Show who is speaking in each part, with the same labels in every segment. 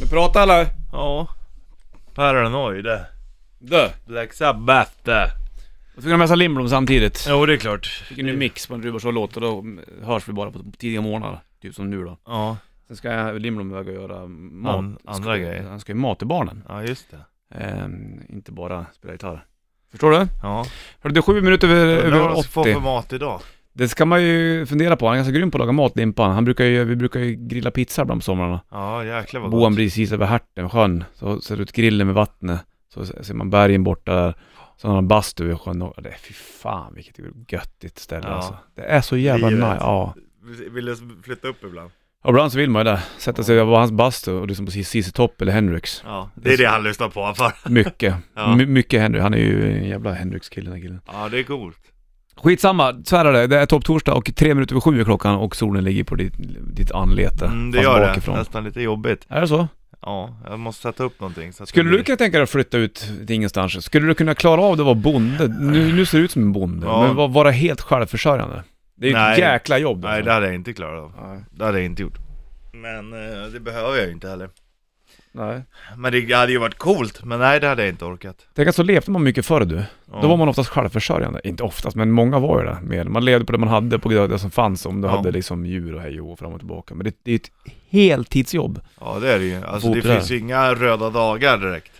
Speaker 1: Du pratar eller?
Speaker 2: Ja. Paranoid.
Speaker 1: Du.
Speaker 2: Black Sabbath.
Speaker 1: Jag fick ha med sig Lindblom samtidigt.
Speaker 2: Jo, det är klart.
Speaker 1: Fick en ny mix på en Rubars låt och då hörs vi bara på tidiga morgnar. Typ som nu då.
Speaker 2: Ja,
Speaker 1: Sen ska jag- Lindblom iväg och göra mat.
Speaker 2: An- andra
Speaker 1: ska,
Speaker 2: grejer.
Speaker 1: Han ska ju mat till barnen.
Speaker 2: ja just det.
Speaker 1: Ehm, inte bara spela gitarr. Förstår du?
Speaker 2: Ja.
Speaker 1: Hörru, det är sju minuter över,
Speaker 2: Undrar vad
Speaker 1: över
Speaker 2: de ska alltså få för
Speaker 1: 80.
Speaker 2: mat idag.
Speaker 1: Det ska man ju fundera på. Han är ganska grym på att laga mat, Limpan. Han brukar ju, vi brukar ju grilla pizza ibland på somrarna.
Speaker 2: Ja, jäklar vad
Speaker 1: Bor han
Speaker 2: gott.
Speaker 1: precis över Härten, sjön. Så ser ut grillen med vattnet. Så ser man bergen borta där. Så har han bastu vid sjön. Och det är fy fan vilket göttigt ställe
Speaker 2: Ja.
Speaker 1: alltså. Det är så jävla
Speaker 2: Livet.
Speaker 1: nice. Ja.
Speaker 2: Vill du flytta upp ibland?
Speaker 1: Och ibland så vill man ju det. Sätta sig på hans bastu och lyssna på CC Topp eller Hendrix.
Speaker 2: Ja, det är det han lyssnar på för.
Speaker 1: Mycket.
Speaker 2: Ja.
Speaker 1: My- mycket Hendrix. Han är ju en jävla Hendrix-kille den här killen.
Speaker 2: Ja, det är coolt.
Speaker 1: Skitsamma, så här är det. Det är topptorsdag och tre minuter över sju är klockan och solen ligger på ditt, ditt anlete.
Speaker 2: Mm, det
Speaker 1: fast
Speaker 2: gör det.
Speaker 1: bakifrån.
Speaker 2: Nästan lite jobbigt.
Speaker 1: Är det så?
Speaker 2: Ja, jag måste sätta upp någonting. Så att
Speaker 1: Skulle
Speaker 2: det
Speaker 1: du kunna tänka dig att flytta ut till ingenstans? Skulle du kunna klara av det att vara bonde? Nu, nu ser du ut som en bonde,
Speaker 2: Ja.
Speaker 1: men va- vara helt självförsörjande? Det är ju ett
Speaker 2: Nej.
Speaker 1: jäkla jobb
Speaker 2: Nej, det
Speaker 1: alltså.
Speaker 2: hade jag inte klarat av.
Speaker 1: Nej,
Speaker 2: Det hade jag inte gjort. Men eh, det behöver jag ju inte heller.
Speaker 1: Nej.
Speaker 2: Men det hade ju varit coolt, men nej det hade jag inte orkat.
Speaker 1: Tänk att så levde man mycket förr du.
Speaker 2: Ja.
Speaker 1: Då var man oftast självförsörjande. Inte oftast, men många var ju det. mer. Man levde på det man hade, på det som fanns. Om du
Speaker 2: Ja.
Speaker 1: hade liksom djur och hej och fram och tillbaka. Men det, det är ett heltidsjobb.
Speaker 2: Ja det är det ju. Alltså det
Speaker 1: Fotboll.
Speaker 2: finns ju inga röda dagar direkt.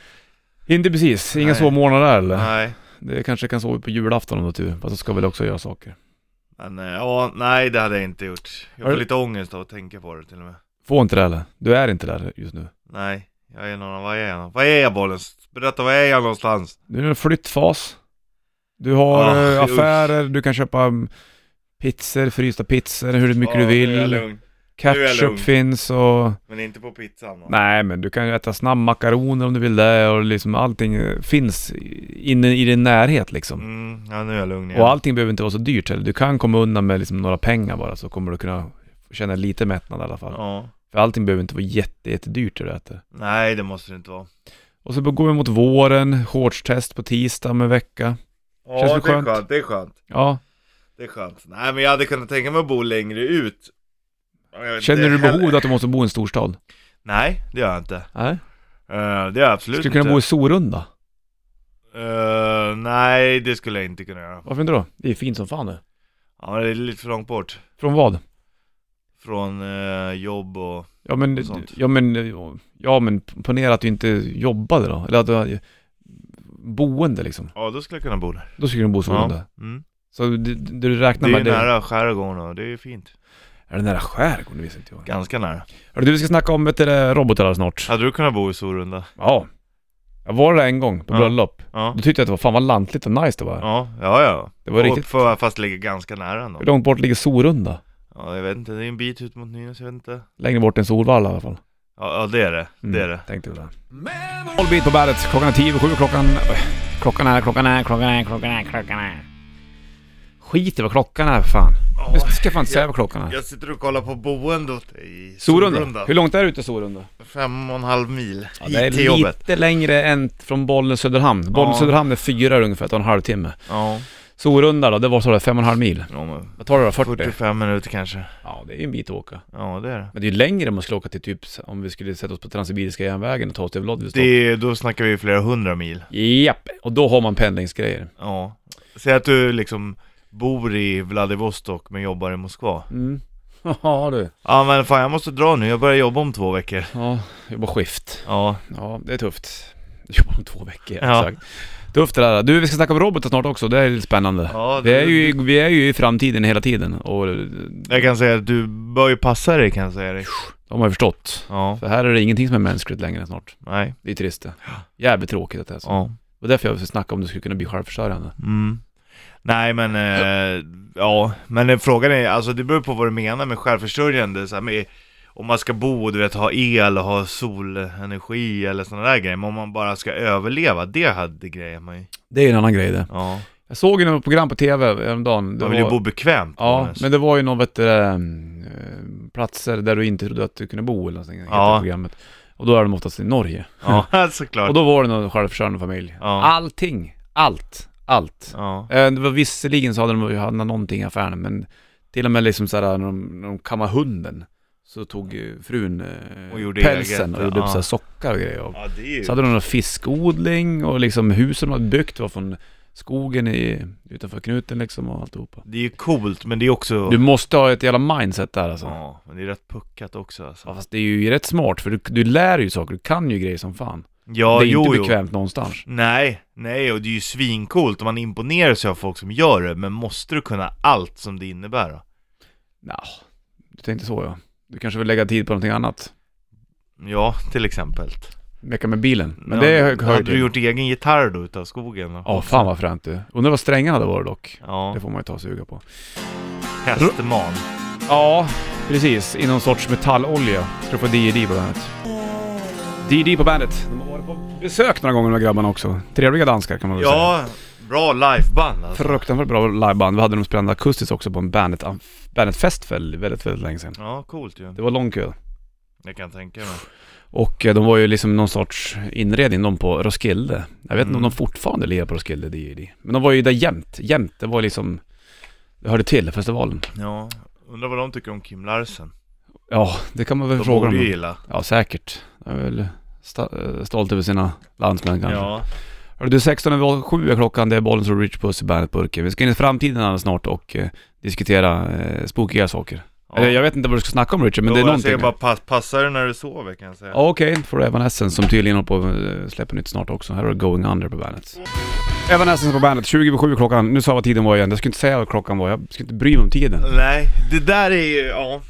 Speaker 1: Inte precis, inga
Speaker 2: Nej.
Speaker 1: sovmorgnar där eller?
Speaker 2: Nej.
Speaker 1: Det kanske kan sova på julafton om du har tur. Fast då ska väl också göra saker.
Speaker 2: Men eh, ja, nej det hade jag inte gjort. Jag
Speaker 1: Har
Speaker 2: får
Speaker 1: du-
Speaker 2: lite ångest av att tänka på det till och med.
Speaker 1: Får inte det eller? Du är inte där just nu.
Speaker 2: Nej, jag är någon, vad är jag? Vad är jag bollens? Berätta, vad är jag någonstans?
Speaker 1: Du är i en flyttfas. Du har
Speaker 2: Ah,
Speaker 1: eh,
Speaker 2: usch.
Speaker 1: affärer, du kan köpa mm, pizzor, frysta pizzor, hur mycket du
Speaker 2: Ja, Nu är jag
Speaker 1: vill.
Speaker 2: lugn. nu är jag lugn.
Speaker 1: Ketchup finns och...
Speaker 2: Men inte på pizzan va?
Speaker 1: Nej men du kan ju äta snabbmakaroner om du vill det och liksom allting eh, finns i- inne i din närhet liksom.
Speaker 2: Mm, ja nu är jag lugn igen.
Speaker 1: Och allting behöver inte vara så dyrt heller. Du kan komma undan med liksom några pengar bara så kommer du kunna känna lite mättnad i alla fall.
Speaker 2: Ja.
Speaker 1: För allting behöver inte vara jätte, jättedyrt det du äter.
Speaker 2: Nej det måste det inte vara.
Speaker 1: Och så går vi mot våren, shortstest på tisdag om en vecka.
Speaker 2: Ja
Speaker 1: Känns det
Speaker 2: det är
Speaker 1: skönt?
Speaker 2: skönt, det är skönt.
Speaker 1: Ja,
Speaker 2: Det är skönt. Nej men jag hade kunnat tänka mig att bo längre ut. Jag-
Speaker 1: känner
Speaker 2: det
Speaker 1: du
Speaker 2: heller-
Speaker 1: behov av att du måste bo i en storstad?
Speaker 2: Nej, det gör jag inte.
Speaker 1: Nej.
Speaker 2: Eh, det gör jag absolut
Speaker 1: Skulle kunna
Speaker 2: inte.
Speaker 1: bo i Sorunda.
Speaker 2: Eh, nej, det skulle jag inte kunna göra.
Speaker 1: Varför inte då? Det är fint som fan nu.
Speaker 2: Ja, men det är lite för långt bort.
Speaker 1: Från vad?
Speaker 2: Från eh, jobb och...
Speaker 1: Ja men,
Speaker 2: Och sånt.
Speaker 1: ja men, ja men ponera att du inte jobbade då. Eller att du hade boende liksom.
Speaker 2: Ja, då skulle jag kunna bo där.
Speaker 1: Då skulle du bo i Sorunda.
Speaker 2: Mm.
Speaker 1: Så det, det du räknar
Speaker 2: Det är
Speaker 1: med
Speaker 2: ju nära skärgården och det är ju fint.
Speaker 1: Är det nära skärgården? Det visste inte jag.
Speaker 2: Ganska nära.
Speaker 1: Hörru du, vi ska snacka om vet du, det, robotar här snart.
Speaker 2: Hade du kunnat bo i Sorunda?
Speaker 1: Ja. Jag var där en gång på
Speaker 2: Ja.
Speaker 1: bröllop.
Speaker 2: Ja.
Speaker 1: Då tyckte jag att det var fan vad lantligt och nice det var.
Speaker 2: Ja, ja, ja.
Speaker 1: Det var
Speaker 2: Och
Speaker 1: riktigt...
Speaker 2: För, fast ligger ganska nära ändå.
Speaker 1: Hur långt bort ligger Sorunda?
Speaker 2: Ja, jag vet inte. Det är en bit ut mot Nynäs, jag vet inte.
Speaker 1: Längre bort än Solvalla i alla fall.
Speaker 2: Ja, ja det är det.
Speaker 1: Mm,
Speaker 2: Det är det.
Speaker 1: Tänkte väl det. All beat på bandet. Klockan är tio över sju. Klockan... Klockan är, klockan är, klockan är, klockan är, klockan är. Skit i vad klockan är för fan. Nu ska jag fan inte säga vad klockan är.
Speaker 2: Jag sitter och kollar på boendet i
Speaker 1: Sorunda. Hur långt är det ut till Sorunda?
Speaker 2: Fem och en halv mil
Speaker 1: Ja,
Speaker 2: hit
Speaker 1: det är
Speaker 2: till jobbet.
Speaker 1: lite längre än från Bollnäs Söderhamn. Bollnäs
Speaker 2: Ja.
Speaker 1: Söderhamn är fyra ungefär, tar en halvtimme.
Speaker 2: Ja,
Speaker 1: Sorunda då, det var sådär fem och en halv mil.
Speaker 2: ja men
Speaker 1: Vad tar det då? 40?
Speaker 2: 45 minuter kanske.
Speaker 1: Ja, det är ju en bit att åka.
Speaker 2: Ja, det är det.
Speaker 1: Men det är ju längre om man skulle åka till typ, om vi skulle sätta oss på Transsibiriska järnvägen och ta oss till Vladivostok.
Speaker 2: det är, då snackar vi flera hundra mil.
Speaker 1: Japp, och då har man pendlingsgrejer.
Speaker 2: Ja. Säg att du liksom bor i Vladivostok men jobbar i Moskva.
Speaker 1: Mm. Ja du.
Speaker 2: Ja men fan jag måste dra nu, jag börjar jobba om två veckor.
Speaker 1: Ja, jobba skift.
Speaker 2: Ja,
Speaker 1: Ja, det är tufft. Jobba om två veckor,
Speaker 2: Ja.
Speaker 1: exakt. Tufft det där. Du, vi ska snacka om robotar snart också, det är lite spännande.
Speaker 2: ja
Speaker 1: Vi
Speaker 2: det,
Speaker 1: är, ju, vi är ju i framtiden hela tiden och de
Speaker 2: jag kan säga att du bör ju passa dig kan jag säga dig.
Speaker 1: har ju förstått.
Speaker 2: Ja,
Speaker 1: För här är det ingenting som är mänskligt längre snart.
Speaker 2: nej,
Speaker 1: Det är trist det. Jävligt tråkigt att det är så.
Speaker 2: ja.
Speaker 1: Det var därför jag ville snacka om du skulle kunna bli självförsörjande.
Speaker 2: Mm. Nej men, eh, ja, men eh, frågan är, alltså det beror på vad du menar med självförsörjande, så här, med, om man ska bo, du vet, ha el och ha solenergi eller sådana där grejer, men om man bara ska överleva, det hade grejer man ju.
Speaker 1: Det är en annan grej det.
Speaker 2: Ja.
Speaker 1: Jag såg ju något program på TV häromdagen. Det
Speaker 2: Man vill ju
Speaker 1: var-
Speaker 2: bo bekvämt.
Speaker 1: Ja,
Speaker 2: Jonas.
Speaker 1: men det var ju någon, vet du, eh, platser där du inte trodde att du kunde bo eller någonting, heter
Speaker 2: Ja.
Speaker 1: det programmet. Och då är de oftast i Norge.
Speaker 2: Ja,
Speaker 1: Och
Speaker 2: såklart.
Speaker 1: då var det någon självförsörjande familj.
Speaker 2: Ja.
Speaker 1: Allting, allt, allt.
Speaker 2: Ja.
Speaker 1: Eh, Det var visserligen så hade de ju handlat någonting i affären, men till och med liksom såhär när de, när de kammar hunden. Så tog ju frun eh,
Speaker 2: Och gjorde
Speaker 1: pälsen
Speaker 2: eget,
Speaker 1: och gjorde upp
Speaker 2: ja.
Speaker 1: så här sockar och grejer. Och
Speaker 2: Ja, det är ju...
Speaker 1: så hade de någon fiskodling och liksom husen de hade byggt var från skogen i, utanför knuten liksom och alltihopa.
Speaker 2: Det är ju coolt, men det är också...
Speaker 1: Du måste ha ett jävla mindset där alltså.
Speaker 2: Ja, men det är rätt puckat också alltså.
Speaker 1: Ja, fast det är ju rätt smart för du, du lär ju saker, du kan ju grejer som fan.
Speaker 2: Ja,
Speaker 1: det är
Speaker 2: jo,
Speaker 1: inte
Speaker 2: jo.
Speaker 1: bekvämt någonstans.
Speaker 2: Nej, nej, och det är ju svincoolt och man imponeras ju av folk som gör det, men måste du kunna allt som det innebär då?
Speaker 1: Nja, du tänkte så ja. Du kanske vill lägga tid på någonting annat.
Speaker 2: Ja, till exempel.
Speaker 1: Mecka med bilen. Men
Speaker 2: Ja,
Speaker 1: det hör hör
Speaker 2: Hade
Speaker 1: till.
Speaker 2: du gjort egen gitarr då utav skogen? då?
Speaker 1: Ja, fan vad fränt du. Undrar vad strängarna hade varit dock.
Speaker 2: Ja,
Speaker 1: Det får man ju ta och suga på.
Speaker 2: hästman.
Speaker 1: Ja, precis. I någon sorts metallolja. Ska få DD på bandet. DD på bandet. De har varit på besök några gånger de här grabbarna också. Trevliga danskar kan man väl säga.
Speaker 2: Ja, bra liveband alltså.
Speaker 1: Fruktansvärt bra liveband. Vi hade dem spelande akustiskt också på en bandet, bandet fest för väldigt, väldigt länge sedan.
Speaker 2: Ja, coolt ju.
Speaker 1: Det var lång kö.
Speaker 2: Det kan jag tänka mig.
Speaker 1: Och eh, de var ju liksom någon sorts inredning de på Roskilde. Jag vet inte om
Speaker 2: Mm.
Speaker 1: de fortfarande lirar på Roskilde, DD. Men de var ju där jämt, jämt. Det var liksom... Det hörde till festivalen.
Speaker 2: Ja, undrar vad de tycker om Kim Larsen.
Speaker 1: Ja, det kan man väl
Speaker 2: De
Speaker 1: fråga
Speaker 2: borde ju
Speaker 1: dem.
Speaker 2: gilla.
Speaker 1: Ja, säkert. De är väl sta- eh, stolt över sina landsmän kanske.
Speaker 2: Ja,
Speaker 1: Hörru du, 16.07 är klockan. Det är bollen som Rich Puss i Bandetburken. Vi ska in i framtiden alldeles snart och eh, diskutera eh, spookiga saker.
Speaker 2: ja.
Speaker 1: Eller, jag vet inte vad du ska snacka om Richard, men
Speaker 2: Då
Speaker 1: det är
Speaker 2: alltså, jag
Speaker 1: någonting.
Speaker 2: säger bara pass, passa dig när du sover kan jag säga.
Speaker 1: Ja, Okej, för Evanescence som tydligen håller på att eh, släppa nytt snart också. Här har du Going Under på bandet. Evanescence på bandet, 20.07 klockan. Nu sa jag vad tiden var igen. Jag skulle inte säga vad klockan var. Jag skulle inte bry mig om tiden.
Speaker 2: Nej, det där är ju, ja.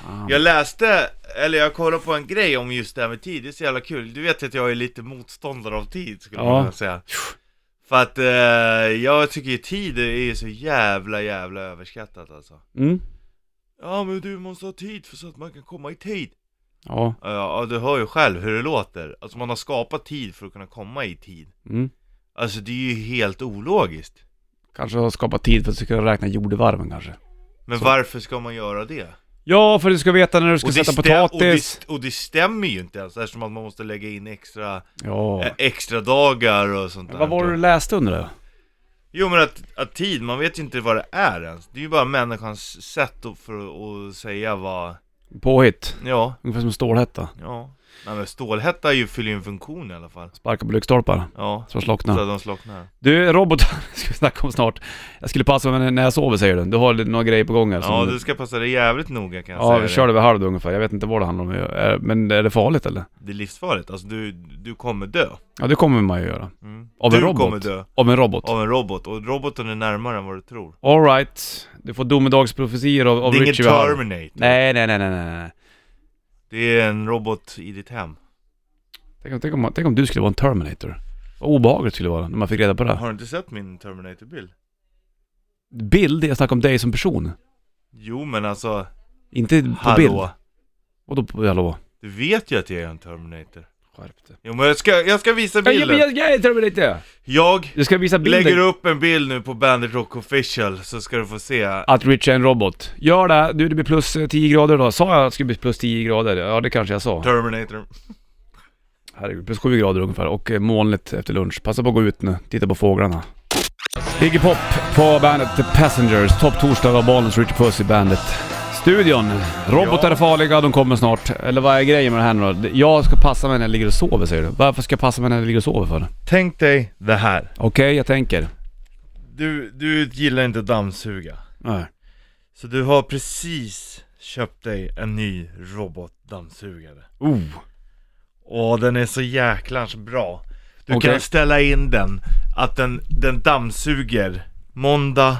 Speaker 1: Fan.
Speaker 2: Jag läste, eller jag kollade på en grej om just det här med tid, det är så jävla kul. Du vet att jag är lite motståndare av tid skulle
Speaker 1: Ja.
Speaker 2: man kunna säga. För att eh, jag tycker ju tid är ju så jävla jävla överskattat alltså.
Speaker 1: Mm.
Speaker 2: Ja men du måste ha tid för så att man kan komma i tid.
Speaker 1: Ja.
Speaker 2: Ja, Ja du hör ju själv hur det låter. Alltså man har skapat tid för att kunna komma i tid.
Speaker 1: Mm.
Speaker 2: Alltså det är ju helt ologiskt.
Speaker 1: Kanske har skapat tid för att du ska räkna jordevarven kanske.
Speaker 2: Men
Speaker 1: Så.
Speaker 2: varför ska man göra det?
Speaker 1: Ja, för du ska veta när du ska
Speaker 2: Och det
Speaker 1: sätta
Speaker 2: stä- och det,
Speaker 1: potatis.
Speaker 2: st- och det stämmer ju inte ens eftersom att man måste lägga in extra
Speaker 1: Ja.
Speaker 2: Eh, extra dagar och sånt där.
Speaker 1: Vad var det du läste under det?
Speaker 2: Jo men att, att tid, man vet ju inte vad det är ens. Det är ju bara människans sätt att, för att att säga vad...
Speaker 1: Påhitt.
Speaker 2: Ja,
Speaker 1: Ungefär som Stålhätta.
Speaker 2: ja. Nej men stålhätta är ju, fyller ju en funktion i alla fall.
Speaker 1: Sparka på lyktstolpar.
Speaker 2: Ja,
Speaker 1: Så
Speaker 2: så
Speaker 1: slockna.
Speaker 2: att de slocknar.
Speaker 1: Du, robotar ska vi snacka om snart. Jag skulle passa mig när jag sover säger du. Du har lite- några grejer på gång här. som-
Speaker 2: Ja, du ska passa dig jävligt noga kan jag
Speaker 1: Alltså, ja
Speaker 2: säga.
Speaker 1: vi
Speaker 2: dig.
Speaker 1: kör det vid halv ungefär. Jag vet inte vad det handlar om. Är- Men är det farligt eller?
Speaker 2: Det är livsfarligt, alltså du, du kommer dö.
Speaker 1: Ja, det kommer man ju göra.
Speaker 2: Mm.
Speaker 1: Av
Speaker 2: du
Speaker 1: en robot?
Speaker 2: kommer dö
Speaker 1: Om en robot.
Speaker 2: av en robot, och roboten är närmare än vad du tror.
Speaker 1: All right. Du får domedagsprofetior av, av
Speaker 2: det är ingen
Speaker 1: Richie vid halv.
Speaker 2: Terminator.
Speaker 1: Nej, nej, nej, nej, nej. nej.
Speaker 2: Det är en robot i ditt hem.
Speaker 1: Tänk, om- tänk, om, tänk om du skulle vara en Terminator. Vad obehagligt skulle det vara när man fick reda på det. här.
Speaker 2: Har du inte sett min Terminator-bild?
Speaker 1: Bild, jag snackar om dig som person.
Speaker 2: Jo men alltså,
Speaker 1: Inte på
Speaker 2: hallå.
Speaker 1: bild. Vadå på hallå?
Speaker 2: Du vet ju att jag är en Terminator.
Speaker 1: Skärp dig.
Speaker 2: Jo men jag ska, jag ska visa
Speaker 1: Jag, jag,
Speaker 2: bilden.
Speaker 1: jag, jag är Terminator!
Speaker 2: Jag
Speaker 1: Du ska visa bilden.
Speaker 2: lägger upp en bild nu på Bandit Rock official så ska du få se.
Speaker 1: Att Rich är en robot. Gör det. Du, det blir plus eh, 10 grader idag. Sa jag att det skulle bli plus 10 grader? Ja, det kanske jag sa.
Speaker 2: Terminator.
Speaker 1: Herregud, plus 7 grader ungefär och eh, molnigt efter lunch. Passa på att gå ut nu, titta på fåglarna. Iggy Pop på bandet The Passengers. Topp torsdag av Bollnäs Richard Puss i bandet. Studion. Robotar är farliga, de kommer snart. Eller vad är grejen med det här nu då? Jag ska passa mig när jag ligger och sover säger du. Varför ska jag passa mig när jag ligger och sover för?
Speaker 2: Tänk dig det här.
Speaker 1: Okej, jag tänker.
Speaker 2: Du, du gillar inte att dammsuga.
Speaker 1: Nej.
Speaker 2: Så du har precis köpt dig en ny robotdammsugare.
Speaker 1: Oh.
Speaker 2: Och den är så jäklans bra. Du
Speaker 1: Okej.
Speaker 2: kan ställa in den, att den, den dammsuger måndag,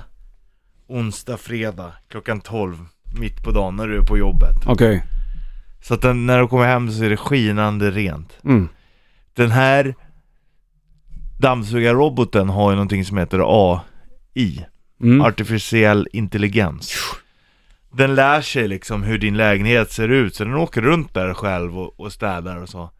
Speaker 2: onsdag, fredag klockan 12 mitt på dagen när du är på jobbet.
Speaker 1: Okej.
Speaker 2: Så att den, när du kommer hem så är det skinande rent.
Speaker 1: Mm.
Speaker 2: Den här dammsugarroboten har ju någonting som heter AI,
Speaker 1: Mm.
Speaker 2: artificiell intelligens. Den lär sig liksom hur din lägenhet ser ut, så den åker runt där själv och, och städar och så.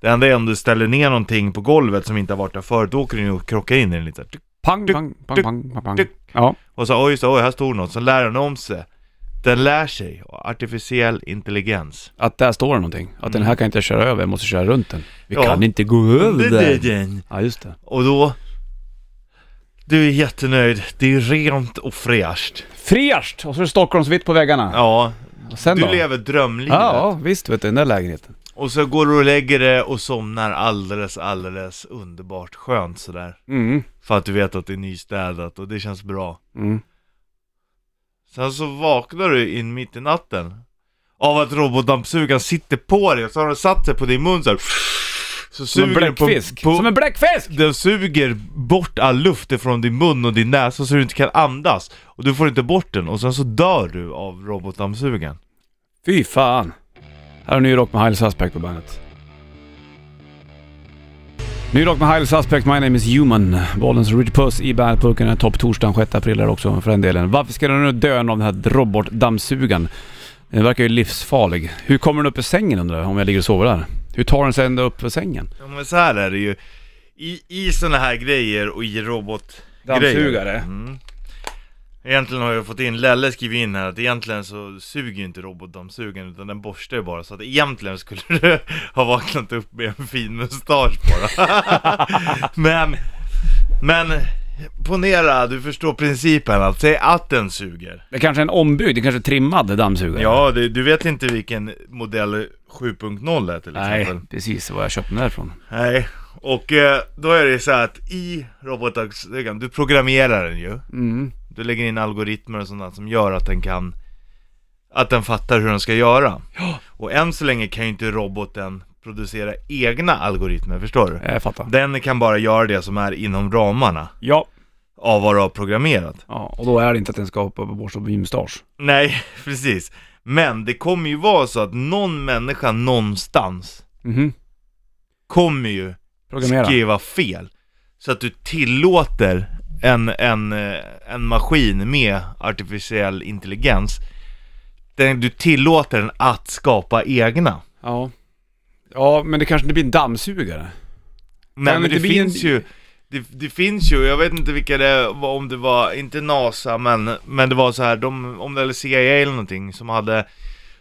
Speaker 2: Det enda är om du ställer ner någonting på golvet som inte har varit där förut, då åker den ju och krockar in i den lite.
Speaker 1: Pang,
Speaker 2: Duck,
Speaker 1: pang, pang,
Speaker 2: duck,
Speaker 1: pang, pang, pang.
Speaker 2: duck.
Speaker 1: Ja.
Speaker 2: Och så, oj just det, oj här står något, så lär den om sig. Den lär sig, artificiell intelligens.
Speaker 1: Att där står det någonting. Att den här kan inte jag köra över, jag måste köra runt den. Vi
Speaker 2: Mm. Ja.
Speaker 1: kan inte gå
Speaker 2: Det
Speaker 1: över
Speaker 2: är
Speaker 1: den.
Speaker 2: den.
Speaker 1: Ja, just det.
Speaker 2: Och då... Du är jättenöjd, det är rent och fräscht.
Speaker 1: Fräscht! Och så är det Stockholmsvitt på väggarna.
Speaker 2: Ja,
Speaker 1: Sen
Speaker 2: Du
Speaker 1: då?
Speaker 2: lever drömlivet.
Speaker 1: Ja, visst vet du, den där lägenheten.
Speaker 2: Och så går du och lägger dig och somnar alldeles, alldeles underbart skönt sådär.
Speaker 1: Mm.
Speaker 2: För att du vet att det är nystädat och det känns bra.
Speaker 1: Mm.
Speaker 2: Sen så vaknar du in mitt i natten av att robotdammsugaren sitter på dig och så har den satt sig på din mun såhär. Så
Speaker 1: Som en
Speaker 2: suger den
Speaker 1: bläckfisk!
Speaker 2: På, på,
Speaker 1: Som en bläckfisk!
Speaker 2: Den suger bort all luft ifrån din mun och din näsa så du inte kan andas. Och du får inte bort den och sen så dör du av robotdammsugaren.
Speaker 1: Fy fan! Här har ny rock med Heil Suspect på bandet. Ny rock med Heil Suspect, My Name Is Human. Bollens Rich Puss i bandetburken är topp torsdagen 6 april här också för den delen. Varför ska den nu dö av den här robotdammsugaren? Den verkar ju livsfarlig. Hur kommer den upp ur sängen undrar jag, om jag ligger och sover där? Hur tar den sig ända upp ur sängen?
Speaker 2: Ja, men så här är det ju. I, i såna här grejer och i robot...
Speaker 1: Dammsugare.
Speaker 2: Mm. Egentligen har jag fått in, Lelle skriver in här att egentligen så suger ju inte robotdammsugaren utan den borstar ju bara så att egentligen skulle du ha vaknat upp med en fin mustasch bara. men, men ponera, du förstår principen att säg att den suger.
Speaker 1: Det är kanske är en ombyggd, det är kanske är trimmad dammsugare?
Speaker 2: Ja, det, du vet inte vilken modell 7.0 är till
Speaker 1: Nej,
Speaker 2: exempel.
Speaker 1: precis vad jag köpte den därifrån.
Speaker 2: Nej, och eh, då är det så här att i robotdammsugaren, du programmerar den ju.
Speaker 1: Mm.
Speaker 2: Du lägger in algoritmer och sånt där som gör att den kan Att den fattar hur den ska göra
Speaker 1: Ja.
Speaker 2: Och än så länge kan ju inte roboten producera egna algoritmer, förstår du?
Speaker 1: Jag fattar.
Speaker 2: Den kan bara göra det som är inom ramarna
Speaker 1: Ja.
Speaker 2: av vad du har programmerat
Speaker 1: ja. Och då är det inte att den ska hoppa på borst och mustasch.
Speaker 2: Nej, precis Men det kommer ju vara så att någon människa någonstans
Speaker 1: Mhm.
Speaker 2: kommer ju
Speaker 1: Programmera.
Speaker 2: skriva fel Så att du tillåter en, en, eh, en maskin med artificiell intelligens den, Du tillåter den att skapa egna
Speaker 1: Ja. Ja, men det kanske inte blir en dammsugare.
Speaker 2: Nej men
Speaker 1: inte
Speaker 2: det
Speaker 1: bli en-
Speaker 2: finns ju det, det finns ju, jag vet inte vilka det var, om det var, inte NASA men, men det var så här, de, om det eller CIA eller någonting som hade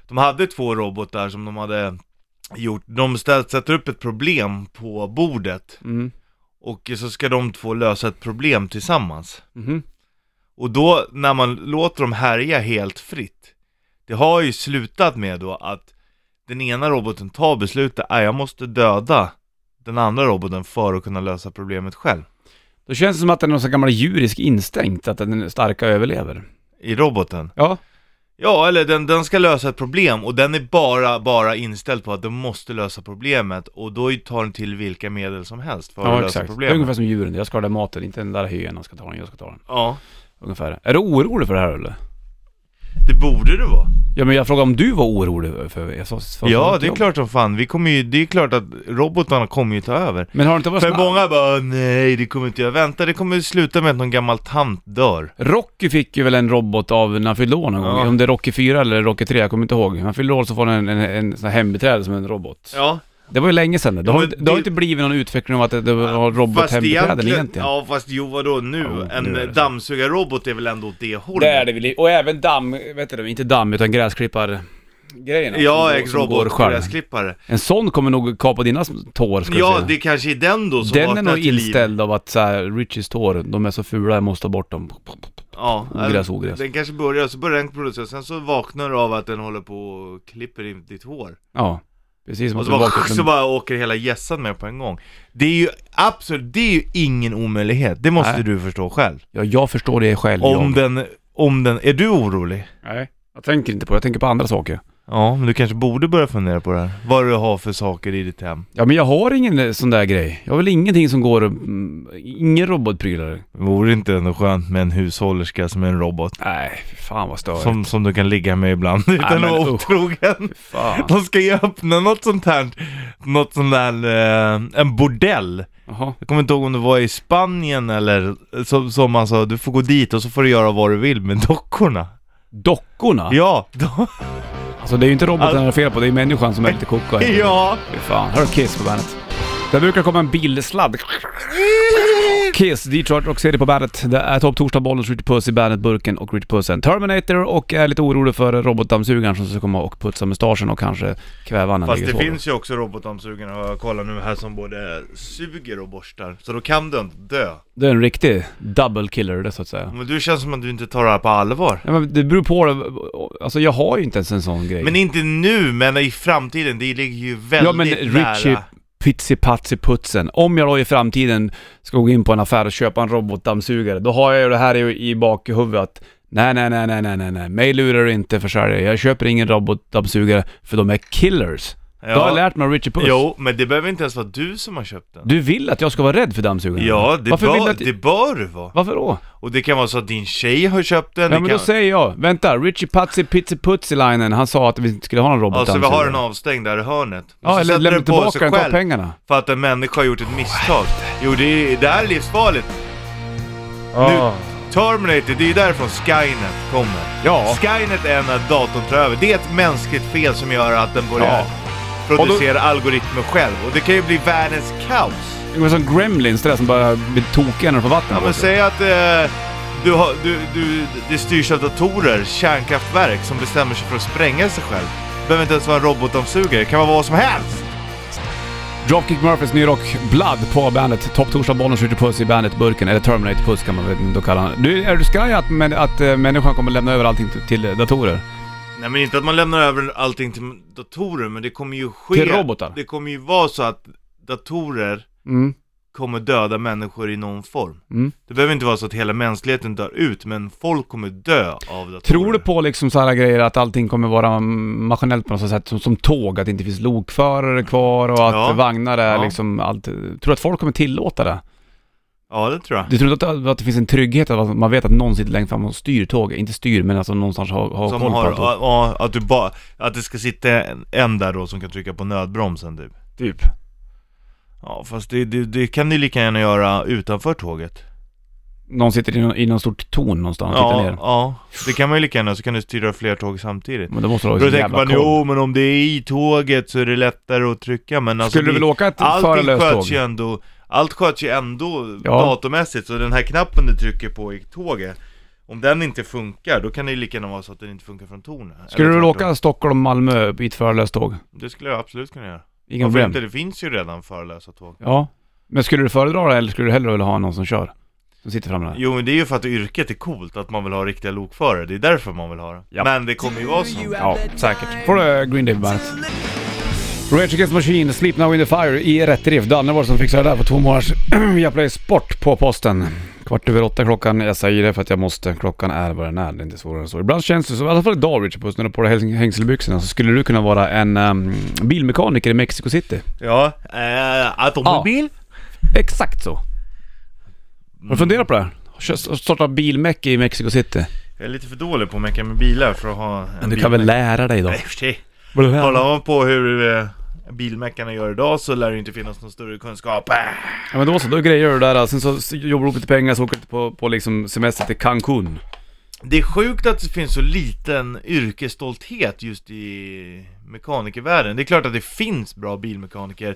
Speaker 2: De hade två robotar som de hade gjort, de ställ, sätter upp ett problem på bordet
Speaker 1: Mm.
Speaker 2: och så ska de två lösa ett problem tillsammans
Speaker 1: Mhm.
Speaker 2: Och då när man låter dem härja helt fritt Det har ju slutat med då att Den ena roboten tar beslutet att jag måste döda Den andra roboten för att kunna lösa problemet själv
Speaker 1: Då känns det som att det är någon sån gammal djurisk instinkt, att den starka överlever.
Speaker 2: I roboten
Speaker 1: Ja.
Speaker 2: Ja eller den, den ska lösa ett problem och den är bara, bara inställd på att den måste lösa problemet Och då tar den till vilka medel som helst för att
Speaker 1: Ja,
Speaker 2: lösa
Speaker 1: exakt. Det är
Speaker 2: problemet
Speaker 1: ungefär som djuren, jag ska ha den maten, inte den där hyen jag ska ta den, jag ska ta den.
Speaker 2: Ja,
Speaker 1: Ungefär. Är du orolig för det här eller?
Speaker 2: det borde det vara
Speaker 1: Ja men jag frågade om du var orolig för jag sa, sa
Speaker 2: Ja
Speaker 1: sa-
Speaker 2: det är klart som fan, vi kommer ju, det är klart att robotarna kommer ju ta över
Speaker 1: Men har det inte varit
Speaker 2: För
Speaker 1: snabb?
Speaker 2: många bara nej det kommer inte jag vänta, det kommer sluta med att någon gammal tant dör.
Speaker 1: Rocky fick ju väl en robot av när han fyllde år någon
Speaker 2: Ja.
Speaker 1: gång. Om det är Rocky 4 eller Rocky 3, jag kommer inte ihåg. När han fyllde år så får han en, en, en sån här hembiträde som en robot.
Speaker 2: Ja,
Speaker 1: Det var ju länge sedan det. Det
Speaker 2: Ja,
Speaker 1: har,
Speaker 2: men
Speaker 1: inte- det har
Speaker 2: det-
Speaker 1: inte blivit någon utveckling av att det, det var robothembiträden egentligen.
Speaker 2: Ja fast jo vadå nu?
Speaker 1: Jo, nu är det så.
Speaker 2: en dammsugarrobot är väl ändå åt det hållet?
Speaker 1: Det är det väl. Och även damm, vet du, inte damm utan gräsklippargrejerna.
Speaker 2: Ja,
Speaker 1: som går-
Speaker 2: ex
Speaker 1: som går
Speaker 2: robot
Speaker 1: själv.
Speaker 2: gräsklippare.
Speaker 1: En sån kommer nog kapa dina sm- tår ska
Speaker 2: Ja,
Speaker 1: jag säga.
Speaker 2: det kanske är den då som
Speaker 1: Den är
Speaker 2: vaknar
Speaker 1: nog
Speaker 2: till liv.
Speaker 1: inställd av att så här, Richies tår, de är så fula, jag måste ta bort dem.
Speaker 2: Ja,
Speaker 1: Ogräs,
Speaker 2: den-
Speaker 1: ogräs.
Speaker 2: Den kanske börjar, så börjar den producera, sen så vaknar du av att den håller på och klipper in ditt hår.
Speaker 1: Ja, precis som
Speaker 2: Och
Speaker 1: att
Speaker 2: så
Speaker 1: du
Speaker 2: bara,
Speaker 1: vaknat
Speaker 2: så
Speaker 1: med-
Speaker 2: bara åker hela gässan med på en gång. Det är ju absolut, det är ju ingen omöjlighet. Det måste
Speaker 1: Nej.
Speaker 2: du förstå själv.
Speaker 1: Ja, jag förstår det själv.
Speaker 2: Om
Speaker 1: jag.
Speaker 2: den, om den, är du orolig?
Speaker 1: Nej, jag tänker inte på det, jag tänker på andra saker.
Speaker 2: Ja, men du kanske borde börja fundera på det här. Vad du har för saker i ditt hem.
Speaker 1: Ja men jag har ingen eh, sån där grej. Jag har väl ingenting som går, att- mm, ingen robotprylar.
Speaker 2: Vore det inte ändå skönt med en hushållerska som är en robot?
Speaker 1: Nej, fy fan vad störigt.
Speaker 2: Som, som du kan ligga med ibland utan
Speaker 1: men
Speaker 2: att vara
Speaker 1: usch.
Speaker 2: otrogen.
Speaker 1: Fan.
Speaker 2: De ska ju öppna något sånt här, något sånt där, eh, en bordell.
Speaker 1: Jaha.
Speaker 2: Jag kommer inte ihåg om det var i Spanien eller, som, som man sa, du får gå dit och så får du göra vad du vill med dockorna.
Speaker 1: Dockorna?
Speaker 2: Ja, do-
Speaker 1: Alltså det är ju inte roboten
Speaker 2: Alltså-
Speaker 1: det är fel på, det är människan som är lite koko. här.
Speaker 2: ja.
Speaker 1: Fy fan. Här har Kiss på bandet. Där brukar komma en bilsladd. Kiss, Detroit Rock City på bandet. Det är Topp Torsdag, Bollens Ritchie Puss i bandet, Burken och Ritchie Pussen. Terminator och är lite orolig för robotdammsugaren som ska komma och putsa mustaschen och kanske kväva när han
Speaker 2: Fast
Speaker 1: ligger
Speaker 2: det
Speaker 1: och sover.
Speaker 2: finns ju också robotdammsugare har jag kollat nu här som både suger och borstar. Så då kan du inte dö.
Speaker 1: Det är en riktig double killer det så att säga.
Speaker 2: Men du känns som att du inte tar det här på allvar.
Speaker 1: Ja, men det beror på, alltså jag har ju inte ens en sån grej.
Speaker 2: Men inte nu, men i framtiden. Det ligger ju väldigt
Speaker 1: ja men Richie
Speaker 2: nära.
Speaker 1: Pitsipatsi-putsen. Om jag då i framtiden ska gå in på en affär och köpa en robotdammsugare, då har jag ju det här i, i bakhuvudet att nej, nej, nej, nej, nej, nej, nej, mig lurar du inte försäljare. Jag köper ingen robotdammsugare för de är killers. Då har jag lärt mig av Richie Puss.
Speaker 2: Jo, men det behöver inte ens vara du som har köpt den.
Speaker 1: Du vill att jag ska vara rädd för dammsugaren?
Speaker 2: Ja, det
Speaker 1: Varför vill
Speaker 2: bör,
Speaker 1: du att...
Speaker 2: det bör du vara.
Speaker 1: Varför då?
Speaker 2: Och det kan vara så att din tjej har köpt den.
Speaker 1: Ja
Speaker 2: det
Speaker 1: men
Speaker 2: kan...
Speaker 1: då säger jag, vänta, Richie Patsi Pitsi Putsilainen, han sa att vi inte skulle ha någon
Speaker 2: Ja, så
Speaker 1: robotdammsugare.
Speaker 2: Alltså, vi har den avstängd där i hörnet. Och så
Speaker 1: Ja, eller
Speaker 2: sätter
Speaker 1: lämna
Speaker 2: den på sig
Speaker 1: tillbaka den, ta
Speaker 2: själv
Speaker 1: pengarna.
Speaker 2: För att en människa har gjort ett misstag. Jo, det, är, det här är livsfarligt.
Speaker 1: Ja.
Speaker 2: Terminator, det är ju därifrån Skynet kommer.
Speaker 1: Ja.
Speaker 2: Skynet är när datorn tar över. Det är ett mänskligt fel som gör att den börjar
Speaker 1: Ja.
Speaker 2: producera algoritmer själv. Och det kan ju bli världens kaos.
Speaker 1: Det var som gremlins det där som bara blir tokiga när de får vatten
Speaker 2: Ja,
Speaker 1: på
Speaker 2: men
Speaker 1: sig.
Speaker 2: säg att eh, du har, du, du, det styrs av datorer, kärnkraftverk som bestämmer sig för att spränga sig själv. Det behöver inte ens vara en robotdammsugare, det kan vara vad som helst!
Speaker 1: Dropkick Murphys ny rock, Blood på bandet. Topp torsdag, bollen skjuter puss i bandet Burken, eller Terminator Puss kan man väl då kalla han. Du, är du skraj att, men, att eh, människan kommer lämna över allting till, till datorer?
Speaker 2: Nej men inte att man lämnar över allting till datorer, men det kommer ju ske...
Speaker 1: Till robotar?
Speaker 2: Det kommer ju vara så att datorer
Speaker 1: Mm.
Speaker 2: kommer döda människor i någon form.
Speaker 1: Mm.
Speaker 2: Det behöver inte vara så att hela mänskligheten dör ut, men folk kommer dö av datorer.
Speaker 1: Tror du på liksom sådana grejer att allting kommer vara maskinellt på något sätt, som, som tåg, att det inte finns lokförare kvar och att
Speaker 2: Ja.
Speaker 1: vagnar är
Speaker 2: Ja.
Speaker 1: liksom allt. Tror du att folk kommer tillåta det?
Speaker 2: Ja, det tror jag.
Speaker 1: Du tror inte att, att det finns en trygghet, att man vet att någon sitter längst fram och styr tåget? Inte styr, men alltså någonstans har, har
Speaker 2: Som
Speaker 1: koll på
Speaker 2: har,
Speaker 1: allt.
Speaker 2: ja, ja, att, du ba, att det ska sitta en, en där då som kan trycka på nödbromsen typ.
Speaker 1: Typ.
Speaker 2: Ja fast det, det, det kan du lika gärna göra utanför tåget.
Speaker 1: Någon sitter i någon, i någon stort torn någonstans och tittar
Speaker 2: Ja,
Speaker 1: ner.
Speaker 2: ja, det kan man ju lika gärna, så kan du styra fler tåg samtidigt.
Speaker 1: Men då måste du ha
Speaker 2: Då
Speaker 1: sån
Speaker 2: tänker
Speaker 1: jävla
Speaker 2: man,
Speaker 1: koll.
Speaker 2: jo men om det är i tåget så är det lättare att trycka men alltså
Speaker 1: Skulle du
Speaker 2: det-
Speaker 1: väl åka ett
Speaker 2: Allting
Speaker 1: förarlöst tåg?
Speaker 2: sköts ju ändå, allt sköts ju ändå
Speaker 1: Ja.
Speaker 2: datormässigt, så den här knappen du trycker på i tåget Om den inte funkar, då kan det ju lika gärna vara så att den inte funkar från tornet
Speaker 1: Skulle
Speaker 2: Eller
Speaker 1: du väl
Speaker 2: tvärtom.
Speaker 1: åka Stockholm-Malmö i ett förarlöst tåg?
Speaker 2: Det skulle jag absolut kunna göra
Speaker 1: Inga
Speaker 2: Varför
Speaker 1: problem.
Speaker 2: inte? Det finns ju redan förarlösa tåg
Speaker 1: Ja. Men skulle du föredra det eller skulle du hellre vilja ha någon som kör? Som sitter framme där?
Speaker 2: Jo men det är ju för att yrket är coolt, att man vill ha riktiga lokförare, det är därför man vill ha det
Speaker 1: Ja.
Speaker 2: Men det kommer ju vara så
Speaker 1: Ja, säkert. Får du eh, Green Day på bandet. Rage Against the Machine, Sleep Now In The Fire i rätt riff. Danne var det som fixade det där på två månaders Viaplay Sport på posten. Kvart över åtta klockan, jag säger det för att jag måste. Klockan är vad den är, det är inte svårare än så. Ibland känns det som, i alla fall idag Richard Puss, när du har på dig häng- hängselbyxorna så skulle du kunna vara en ehm, bilmekaniker i Mexico City.
Speaker 2: Ja, eh, automobil?
Speaker 1: Exakt så. Har du funderat på det? här? Kör- Starta bilmeck i Mexico City.
Speaker 2: Jag är lite för dålig på att mecka med bilar för att ha en
Speaker 1: Men du kan väl lära dig då?
Speaker 2: Nej, i och för sig. Kollar man på hur eh, bilmeckarna gör idag så lär det inte finnas någon större kunskap. Äh.
Speaker 1: Ja men då så, då grejer du det där. Sen så s- jobbar du upp lite pengar så åker du på, på liksom semester till Cancun.
Speaker 2: Det är sjukt att det finns så liten yrkesstolthet just i mekanikervärlden. Det är klart att det finns bra bilmekaniker.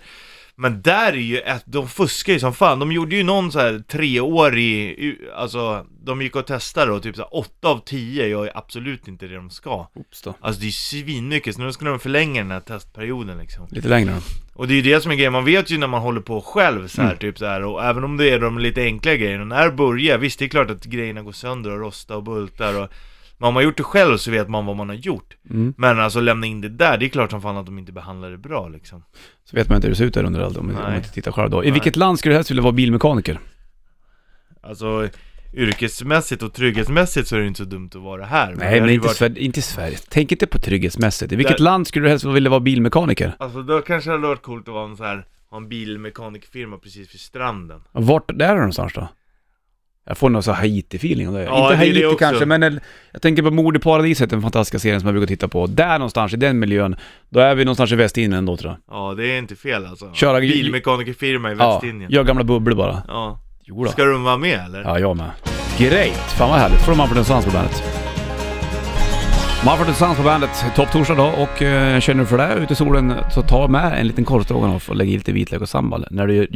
Speaker 2: Men där är ju ett, de fuskar ju som fan. De gjorde ju någon så här treårig, u- alltså de gick och testade och typ så här, åtta av tio gör ju absolut inte det de ska.
Speaker 1: Oops då.
Speaker 2: Alltså det är ju svinmycket, så nu ska de förlänga den här testperioden liksom.
Speaker 1: Lite längre då.
Speaker 2: Och det är ju det som är grejen, man vet ju när man håller på själv så här,
Speaker 1: Mm.
Speaker 2: typ så här, och även om det är de lite enkla grejerna, när det börjar, visst det är klart att grejerna går sönder och rostar och bultar och men om man har gjort det själv så vet man vad man har gjort.
Speaker 1: Mm.
Speaker 2: Men alltså lämna in det där, det är klart som fan att de inte behandlar det bra liksom.
Speaker 1: Så vet man inte hur det ser ut där under allt om, man- om man
Speaker 2: Nej.
Speaker 1: inte tittar själv då. I vilket land skulle du helst vilja vara bilmekaniker?
Speaker 2: Alltså yrkesmässigt och trygghetsmässigt så är det inte så dumt att vara här. det
Speaker 1: Nej men
Speaker 2: hade ju
Speaker 1: inte,
Speaker 2: varit...
Speaker 1: Sverige, inte Sverige. Tänk inte på trygghetsmässigt. I vilket
Speaker 2: Där-
Speaker 1: land skulle du helst vilja vara bilmekaniker?
Speaker 2: Alltså då kanske det hade varit coolt att vara en så här, ha en bilmekanikfirma precis vid stranden.
Speaker 1: Och Vart är det någonstans då? Jag får någon så här Haiti-feeling av det.
Speaker 2: Ja,
Speaker 1: inte
Speaker 2: det är det
Speaker 1: Haiti
Speaker 2: också.
Speaker 1: kanske, men en- jag tänker på Mord i paradiset, den fantastiska serien som jag brukar titta på. Där någonstans, i den miljön, då är vi någonstans i Västindien då tror jag.
Speaker 2: Ja, det är inte fel alltså.
Speaker 1: Köra-
Speaker 2: Bilmekanikerfirma i Västindien.
Speaker 1: Ja, gör gamla bubblor bara.
Speaker 2: ja.
Speaker 1: Jodå.
Speaker 2: Ska de vara med eller?
Speaker 1: Ja, jag med. Great! Fan vad härligt. Får de man på dans på bandet. Manfred Sons på bandet, topptorsdag idag och eh, känner du för det här ute i solen så ta med en liten korv stroganoff och lägg i lite vitlök och sambal. När du gör-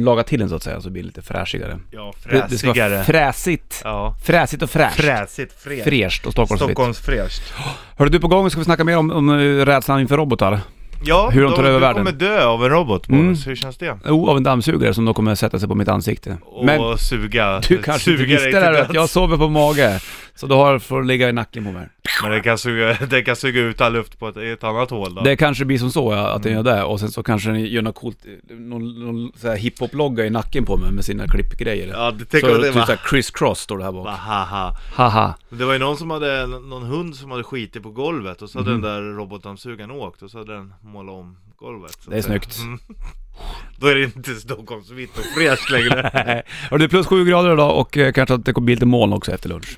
Speaker 1: lagar till den så att säga så blir det lite fräschigare.
Speaker 2: Ja,
Speaker 1: Det, det ska vara
Speaker 2: fräsigare.
Speaker 1: fräsigt.
Speaker 2: Ja.
Speaker 1: Fräsigt och fräscht.
Speaker 2: Fräsigt, fräscht.
Speaker 1: Fräscht och Stockholmsvitt.
Speaker 2: Stockholmsfräscht.
Speaker 1: Hörru du, på gång ska vi snacka mer om, om eh, rädslan inför robotar.
Speaker 2: Ja,
Speaker 1: Hur de tar
Speaker 2: då-
Speaker 1: över
Speaker 2: du
Speaker 1: världen. Mm.
Speaker 2: kommer dö av en robot, Boris. Hur känns det?
Speaker 1: Jo, av en dammsugare som då kommer sätta sig på mitt ansikte.
Speaker 2: Och
Speaker 1: Men
Speaker 2: suga,
Speaker 1: du kanske inte
Speaker 2: suga dig
Speaker 1: visste det
Speaker 2: till
Speaker 1: här att
Speaker 2: döds.
Speaker 1: jag sover på mage. Så då har får ligga i nacken på mig.
Speaker 2: Men det kan, suga, det kan suga ut all luft på ett, i ett annat hål då.
Speaker 1: Det kanske blir som så ja, att
Speaker 2: Mm.
Speaker 1: den gör det och sen så kanske den gör något coolt, eh, någon, någon så här hiphop-logga i nacken på mig med sina klippgrejer.
Speaker 2: Ja, det
Speaker 1: så
Speaker 2: tänker jag det
Speaker 1: typ
Speaker 2: va?
Speaker 1: såhär Chris Cross står det här bak.
Speaker 2: Va, ha, ha.
Speaker 1: Haha.
Speaker 2: Det var ju någon som hade, någon hund som hade skitit på golvet och så
Speaker 1: Mm.
Speaker 2: hade den där robotdammsugaren åkt och så hade den målat om golvet. Så
Speaker 1: Det är
Speaker 2: att säga.
Speaker 1: snyggt.
Speaker 2: Mm. Då är det inte Stockholmsvitt och fräscht längre.
Speaker 1: Hörru du, plus sju grader idag och eh, kanske att det kommer bli lite moln också efter lunch.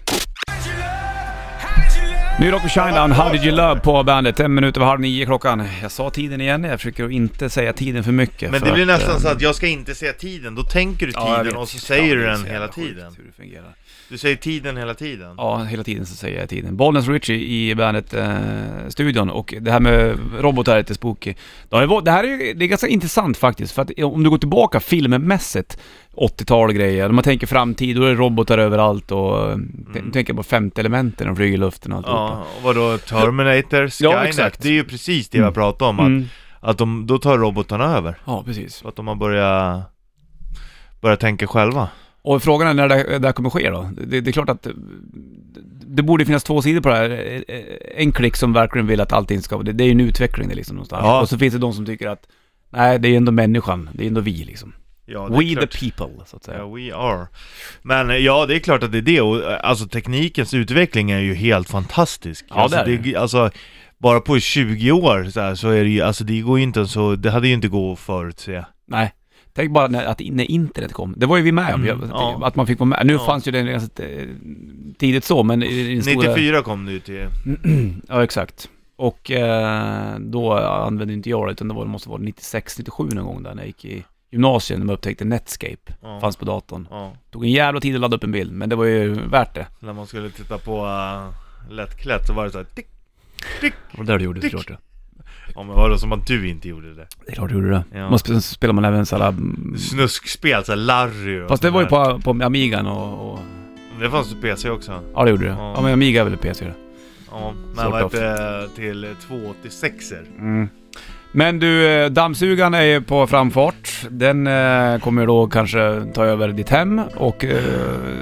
Speaker 1: Ny rock och Shinedown, How Did You Love på bandet. En minut över halv nio klockan. Jag sa tiden igen, jag försöker att inte säga tiden för mycket.
Speaker 2: Men
Speaker 1: för
Speaker 2: det blir
Speaker 1: att, eh,
Speaker 2: nästan så att jag ska inte säga tiden, då tänker du
Speaker 1: jag
Speaker 2: tiden
Speaker 1: vet.
Speaker 2: och så säger du
Speaker 1: Ja, det är
Speaker 2: den
Speaker 1: så
Speaker 2: hela
Speaker 1: jävla sjukt
Speaker 2: tiden.
Speaker 1: Hur det fungerar.
Speaker 2: Du säger tiden hela tiden.
Speaker 1: Ja, hela tiden så säger jag tiden. Bollnäs Richie i bandet-studion och det här med robotar är lite spooky. Det har ju varit- Det här är, ju- det är ganska intressant faktiskt, för att om du går tillbaka filmmässigt, 80-tal och grejer, när man tänker framtid, då är det robotar överallt och mm. tänker på femte elementen, de flyger i luften och alltihopa.
Speaker 2: Ja, och vadå Terminator, Skynet?
Speaker 1: exakt.
Speaker 2: Det är ju precis det vi har pratat om, att,
Speaker 1: Mm.
Speaker 2: att de, då tar robotarna över.
Speaker 1: Ja, precis.
Speaker 2: Så att de har börjat, börjat tänka själva.
Speaker 1: Och frågan är när det, det här kommer ske då? Det, det är klart att eh, det borde finnas två sidor på det här. Eh, En klick som verkligen vill att allting ska... Det, det är ju en utveckling det liksom någonstans.
Speaker 2: Ja.
Speaker 1: Och så finns det de som tycker att nej, det är ju ändå människan. Det är ju ändå vi liksom.
Speaker 2: Ja, det är
Speaker 1: We
Speaker 2: klart.
Speaker 1: the people, så att säga.
Speaker 2: Ja, we are. Men eh, ja, det är klart att det är det. Och, eh, alltså teknikens utveckling är ju helt fantastisk.
Speaker 1: Ja,
Speaker 2: alltså,
Speaker 1: det är det.
Speaker 2: alltså, bara på 20 år så, här, så är det ju, alltså det går ju inte så, det hade ju inte gått att förutse.
Speaker 1: Nej. Tänk bara när, att, när internet kom. Det var ju vi med om,
Speaker 2: Mm,
Speaker 1: jag-
Speaker 2: ja.
Speaker 1: att man fick vara med. Nu
Speaker 2: Ja.
Speaker 1: fanns ju den ganska eh, tidigt så, men i i den stora...
Speaker 2: 94 kom det ju till.
Speaker 1: Ja, exakt. Och eh, då använde inte jag det, utan det var, det måste vara 96, 97 någon gång där när jag gick i gymnasiet, när man upptäckte Netscape.
Speaker 2: Ja,
Speaker 1: Fanns på datorn.
Speaker 2: ja,
Speaker 1: Tog en jävla tid att ladda upp en bild, men det var ju värt det.
Speaker 2: när man skulle titta på uh, lättklätt så var det så här, tick.
Speaker 1: Det var där du gjorde det, klart det.
Speaker 2: Ja men vadå, som att du inte gjorde det?
Speaker 1: Det är klart du gjorde det.
Speaker 2: Ja.
Speaker 1: Man sp- spelar man även såhär...
Speaker 2: Snuskspel, såhär Larry och
Speaker 1: Fast det
Speaker 2: sånt
Speaker 1: var ju
Speaker 2: där.
Speaker 1: på, på Amigan och, och...
Speaker 2: Det fanns ju PC också.
Speaker 1: Ja, det gjorde det.
Speaker 2: Ja.
Speaker 1: Ja, men Amiga är väl PC?
Speaker 2: Ja,
Speaker 1: Sort
Speaker 2: men vad
Speaker 1: of.
Speaker 2: heter det? Till 286er.
Speaker 1: Mm. Men du, eh, dammsugaren är ju på framfart. Den eh, kommer ju då kanske ta över ditt hem och eh,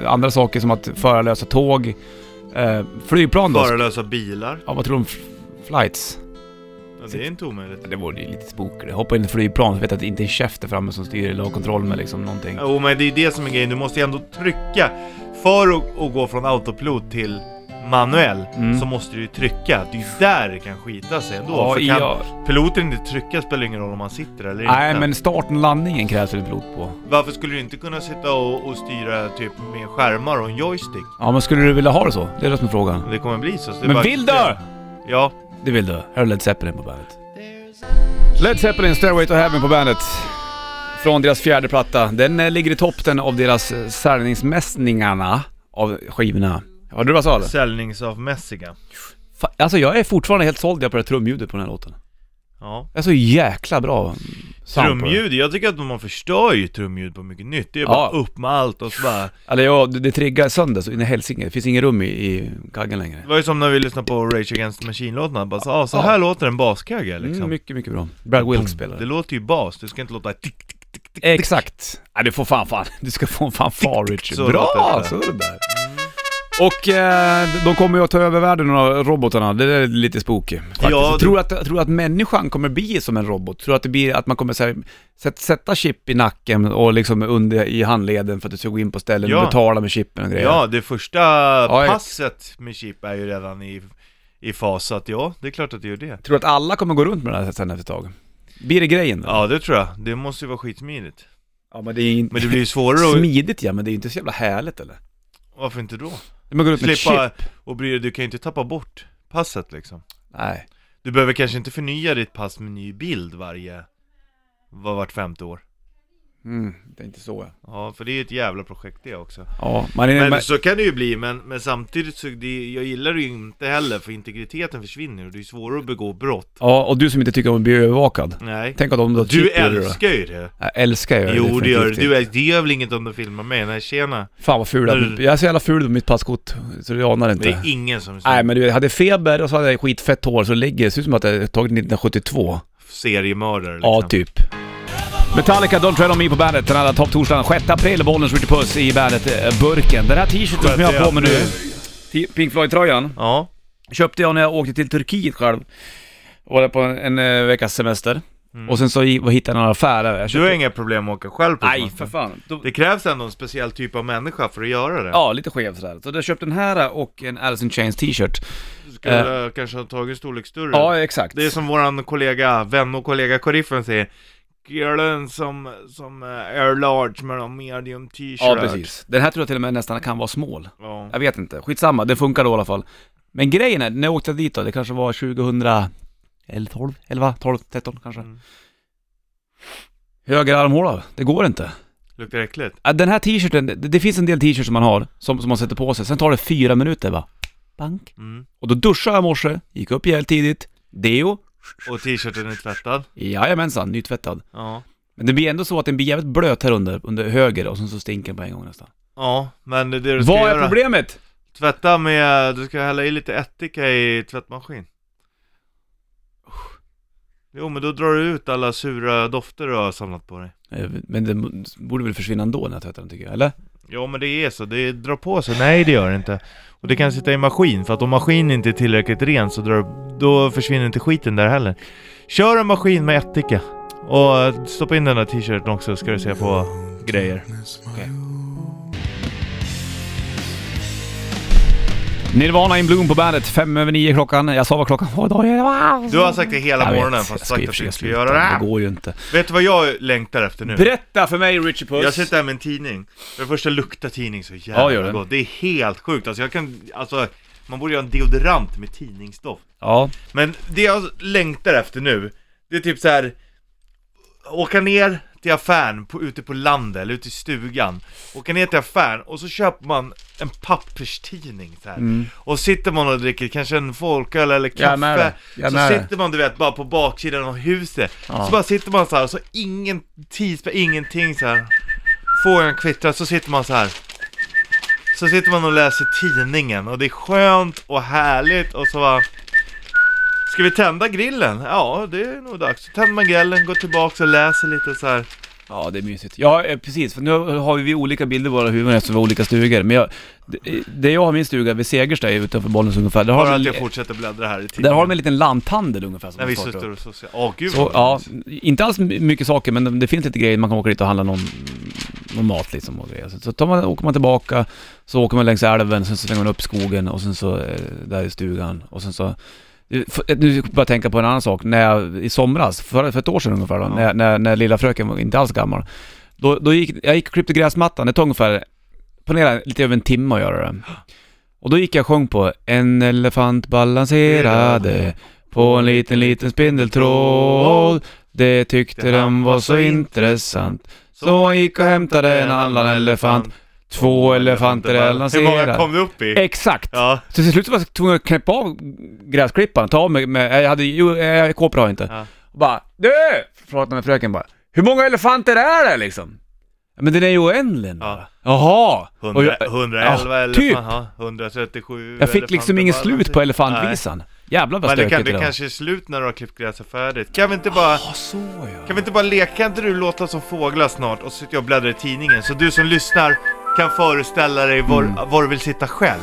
Speaker 1: andra saker som att förarlösa tåg. Eh, flygplan då?
Speaker 2: Förelösa bilar.
Speaker 1: Ja, vad tror du om f- flights?
Speaker 2: Ja, det är inte omöjligt.
Speaker 1: Ja, Det vore ju lite spooky. Hoppa in i ett flygplan och vet att det inte är en käft där framme som styr eller har kontroll med liksom någonting.
Speaker 2: Jo men det är ju det som är grejen, du måste ju ändå trycka. För att, att gå från autopilot till manuell
Speaker 1: Mm.
Speaker 2: så måste du ju trycka. Det är ju där det kan skita sig ändå.
Speaker 1: Ja,
Speaker 2: för kan
Speaker 1: ja.
Speaker 2: piloten inte trycka spelar ingen roll om han sitter eller
Speaker 1: Nej,
Speaker 2: inte.
Speaker 1: men starten och landningen krävs väl pilot på.
Speaker 2: Varför skulle du inte kunna sitta och, och styra typ med skärmar och en joystick?
Speaker 1: Ja, men skulle du vilja ha det så? Det är det som är frågan.
Speaker 2: Det kommer bli så. så Mm. det är
Speaker 1: Men
Speaker 2: bara-
Speaker 1: vill du?
Speaker 2: Ja.
Speaker 1: Det vill du. Här är Led Zeppelin på bandet. Led Zeppelin, Stairway to Heaven på bandet. Från deras fjärde platta. Den eh, ligger i toppen av deras eh, säljningsmässningarna av skivorna. Hörde du vad jag sa? eller?
Speaker 2: Säljningsavmässiga.
Speaker 1: Fa- Alltså jag är fortfarande helt såld på det här trumljudet på den här låten.
Speaker 2: Ja.
Speaker 1: Det är så jäkla bra sound på det.
Speaker 2: Trumljud, jag tycker att man förstör ju trumljud på mycket nytt. Det är
Speaker 1: Ja.
Speaker 2: bara upp med allt och så bara...
Speaker 1: Eller ja, det, det triggar sönder så in i helsike. Det finns ingen rum i, i kaggen längre.
Speaker 2: Det var ju som när vi lyssnade på Rage Against the Machine-låtarna, bara så, ah, så här låter en baskagge liksom.
Speaker 1: Mm, mycket, mycket bra. Brad Wilks spelar.
Speaker 2: det låter ju bas, det ska inte låta tick, tick, tick, tick.
Speaker 1: Exakt. Ja, du får fan fan. Du ska få en fanfar Richard.
Speaker 2: så
Speaker 1: Bra!
Speaker 2: låter det.
Speaker 1: Så är det där. Och eh, de kommer ju att ta över världen, de här robotarna. Det där är lite spooky. Faktiskt.
Speaker 2: Ja,
Speaker 1: tror, du att, tror du att människan kommer bli som en robot? Tror du att, det blir, att man kommer så här, sätt, sätta chip i nacken och liksom under, i handleden för att du ska gå in på ställen och
Speaker 2: Ja.
Speaker 1: betala med chippen och grejer?
Speaker 2: Ja, det första
Speaker 1: ex-
Speaker 2: passet med chip är ju redan i, i fas, så att ja, det är klart att det gör det.
Speaker 1: Tror du att alla kommer gå runt med det här sen efter ett tag? Blir det grejen då?
Speaker 2: Ja, det tror jag. Det måste ju vara skitsmidigt.
Speaker 1: Ja, men det är inte...
Speaker 2: Men det blir ju svårare att...
Speaker 1: Smidigt ja, men det är ju inte så jävla härligt eller?
Speaker 2: Varför inte då?
Speaker 1: Man går runt med ett chip?
Speaker 2: Slippa och bry dig, du kan ju inte tappa bort passet liksom.
Speaker 1: Nej.
Speaker 2: Du behöver kanske inte förnya ditt pass med ny bild varje, var, vart femte år.
Speaker 1: Mm, det är inte så ja.
Speaker 2: Ja, för det är ju ett jävla projekt det också.
Speaker 1: Ja, man är,
Speaker 2: Men
Speaker 1: man,
Speaker 2: så kan det ju bli, men, men samtidigt så, det, jag gillar det ju inte heller för integriteten försvinner och det är svårare att begå brott.
Speaker 1: ja, och du som inte tycker om att bli övervakad.
Speaker 2: Nej.
Speaker 1: Tänk om de då
Speaker 2: Du
Speaker 1: klipper det då.
Speaker 2: älskar ju det.
Speaker 1: Jag älskar ju
Speaker 2: Jo det gör du,
Speaker 1: definitivt.
Speaker 2: du äl- det gör väl inget om du filmar mig? Nej tjena.
Speaker 1: Fan vad ful
Speaker 2: När
Speaker 1: jag
Speaker 2: du-
Speaker 1: Jag är så jävla ful med mitt passkort, så du anar
Speaker 2: Men det
Speaker 1: inte.
Speaker 2: är ingen som
Speaker 1: Nej men du, jag hade feber och så hade jag skitfett hår, så det ligger, det ser ut som att jag tagit 1972.
Speaker 2: seriemördare liksom.
Speaker 1: Ja, typ. Metallica, Don't Tread On Me på bandet. Den här topptorsdagen 6 april, Bollnäs Ritchie Puss i bandet-burken. Den här t-shirten som jag har på mig nu, T- Pink Floyd-tröjan,
Speaker 2: Ja.
Speaker 1: köpte jag när jag åkte till Turkiet själv. Var där på en, en eh, veckas semester.
Speaker 2: Mm.
Speaker 1: Och sen så i- hittade jag några affärer. Jag
Speaker 2: Du har
Speaker 1: köpte...
Speaker 2: inga problem med att åka själv på
Speaker 1: Nej,
Speaker 2: semester.
Speaker 1: för fan. Då...
Speaker 2: Det krävs ändå en speciell typ av människa för att göra det.
Speaker 1: Ja, lite skev sådär. Så jag köpte den här och en Alice in Chains t-shirt.
Speaker 2: Du skulle kanske ha tagit storlek större.
Speaker 1: eh. Ja, exakt.
Speaker 2: Det är som våran kollega, vän och kollega Koriffen säger. Killen som, som eh, är large med de medium t-shirt.
Speaker 1: Ja, precis. Den här tror jag till och med nästan kan vara small.
Speaker 2: Ja.
Speaker 1: Jag vet inte, skitsamma, det funkar då i alla fall. Men grejen är, när jag åkte dit då, det kanske var 2000... Eller 12, 11, 12, 13 kanske.
Speaker 2: Mm.
Speaker 1: Höger armhåla, det går inte.
Speaker 2: Luktar äckligt.
Speaker 1: Äh, Den här t-shirten, det, det finns en del t-shirts som man har, som, som man sätter på sig, sen tar det fyra minuter bara. Bank.
Speaker 2: Mm.
Speaker 1: Och då duschade jag i morse, gick upp jävligt tidigt, deo,
Speaker 2: Och t-shirten är tvättad.
Speaker 1: jajamensan, nytvättad.
Speaker 2: Ja.
Speaker 1: Men det blir ändå så att den blir jävligt blöt här under, under höger och sen så stinker den på en gång nästan.
Speaker 2: Ja, men det är det du ska
Speaker 1: Vad är
Speaker 2: göra.
Speaker 1: problemet?
Speaker 2: Tvätta med, du ska hälla i lite ättika i tvättmaskin. Jo men då drar du ut alla sura dofter du har samlat på dig.
Speaker 1: Eh, Men den borde väl försvinna ändå när jag tvättar den tycker jag, eller?
Speaker 2: Ja men det är så, det drar på sig. Nej det gör det inte. Och det kan sitta i maskin, för att om maskinen inte är tillräckligt ren så drar, då försvinner inte skiten där heller. Kör en maskin med ättika. Och eh, stoppa in den där t-shirten också ska du se på grejer.
Speaker 1: Nirvana in Bloom på bandet, fem över nio klockan. Jag sa vad klockan var idag. Jag
Speaker 2: Du har sagt det hela
Speaker 1: Jag vet,
Speaker 2: morgonen
Speaker 1: jag
Speaker 2: fast
Speaker 1: ska i och
Speaker 2: sagt att
Speaker 1: för
Speaker 2: du
Speaker 1: sig
Speaker 2: inte skulle
Speaker 1: sluta,
Speaker 2: göra
Speaker 1: Det
Speaker 2: det.
Speaker 1: går ju inte.
Speaker 2: Vet du vad jag längtar efter nu?
Speaker 1: Berätta för mig Richie Puss.
Speaker 2: Jag sitter här med en tidning. För det första luktar tidning så
Speaker 1: Ja,
Speaker 2: jävla
Speaker 1: gör det.
Speaker 2: gott. Det är helt sjukt. Alltså jag kan, alltså man borde göra en deodorant med tidningsdoft.
Speaker 1: Ja.
Speaker 2: Men det jag längtar efter nu, det är typ så här. Åka ner till affären på, ute på landet eller ute i stugan. Åka ner till affären och så köper man en papperstidning så här. Och sitter man och dricker kanske en folköl eller
Speaker 1: Mm. Jag är med
Speaker 2: kaffe.
Speaker 1: dig. Jag är
Speaker 2: Så
Speaker 1: med dig.
Speaker 2: sitter man du vet bara på baksidan av huset.
Speaker 1: Ja.
Speaker 2: Så bara sitter man så här och så ingen tidspär, ingenting så här. Fågeln kvittrar, så sitter man så här. Så sitter man och läser tidningen och det är skönt och härligt och så bara... Ska vi tända grillen? Ja, det är nog dags. Så tänder man grillen, går tillbaks och läser lite så här.
Speaker 1: ja, det är mysigt. Ja, eh, precis. För nu har vi olika bilder i våra huvuden eftersom vi har olika stugor. Men jag, det, det jag har i min stuga vid Segersta är utanför Bollnäs ungefär. Där har,
Speaker 2: Bara
Speaker 1: de
Speaker 2: att
Speaker 1: en-
Speaker 2: jag fortsätter bläddra här i
Speaker 1: där
Speaker 2: tidningen.
Speaker 1: har de en liten lanthandel ungefär. Som
Speaker 2: När
Speaker 1: de
Speaker 2: vi
Speaker 1: startar
Speaker 2: sitter
Speaker 1: upp.
Speaker 2: och så... Åh gud
Speaker 1: Så,
Speaker 2: vad
Speaker 1: ja,
Speaker 2: mysigt.
Speaker 1: inte alls my- mycket saker men det- det finns lite grejer, man kan åka dit och handla någon, någon mat liksom och grejer. Så, så tar man, åker man tillbaka, så åker man längs älven, sen så svänger man upp skogen och sen så eh, där i stugan och sen så... Nu f- eh, nu börjar jag tänka på en annan sak, när jag, i somras, för, för ett år sedan ungefär då,
Speaker 2: Ja.
Speaker 1: när, när, när lilla fröken var inte alls gammal. Då, då gick, jag gick och klippte gräsmattan, det tog ungefär, ponera lite över en timme att göra det. Och då gick jag och sjöng på En elefant balanserade på en liten liten spindeltråd Det tyckte den var så intressant Så han gick och hämtade en annan elefant Två elefanter
Speaker 2: Hur många kom
Speaker 1: balanserade
Speaker 2: du upp i?
Speaker 1: Exakt!
Speaker 2: Ja.
Speaker 1: Så till slut var jag tvungen att knäppa av gräsklipparen, ta av mig, med, jag hade jo, eh, kåpor har jag inte.
Speaker 2: Ja.
Speaker 1: Och bara Du! Pratade med fröken bara Hur många elefanter är det liksom? Men den är ju oändlig nu.
Speaker 2: Ja.
Speaker 1: Jaha! Och jag-
Speaker 2: 100, 111
Speaker 1: ja,
Speaker 2: eller
Speaker 1: typ.
Speaker 2: ja, 137
Speaker 1: Jag fick liksom
Speaker 2: elefanter
Speaker 1: inget
Speaker 2: bara.
Speaker 1: slut på elefantvisan. Jävlar vad
Speaker 2: Men det,
Speaker 1: stökigt
Speaker 2: kan,
Speaker 1: det
Speaker 2: det
Speaker 1: var.
Speaker 2: kanske är slut när du har klippt gräset färdigt. Kan vi inte bara...
Speaker 1: Ja, så ja.
Speaker 2: Kan vi inte bara leka, kan inte du låta som fåglar snart och sitta och bläddra i tidningen? Så du som lyssnar kan föreställa dig var,
Speaker 1: Mm.
Speaker 2: var du vill sitta själv.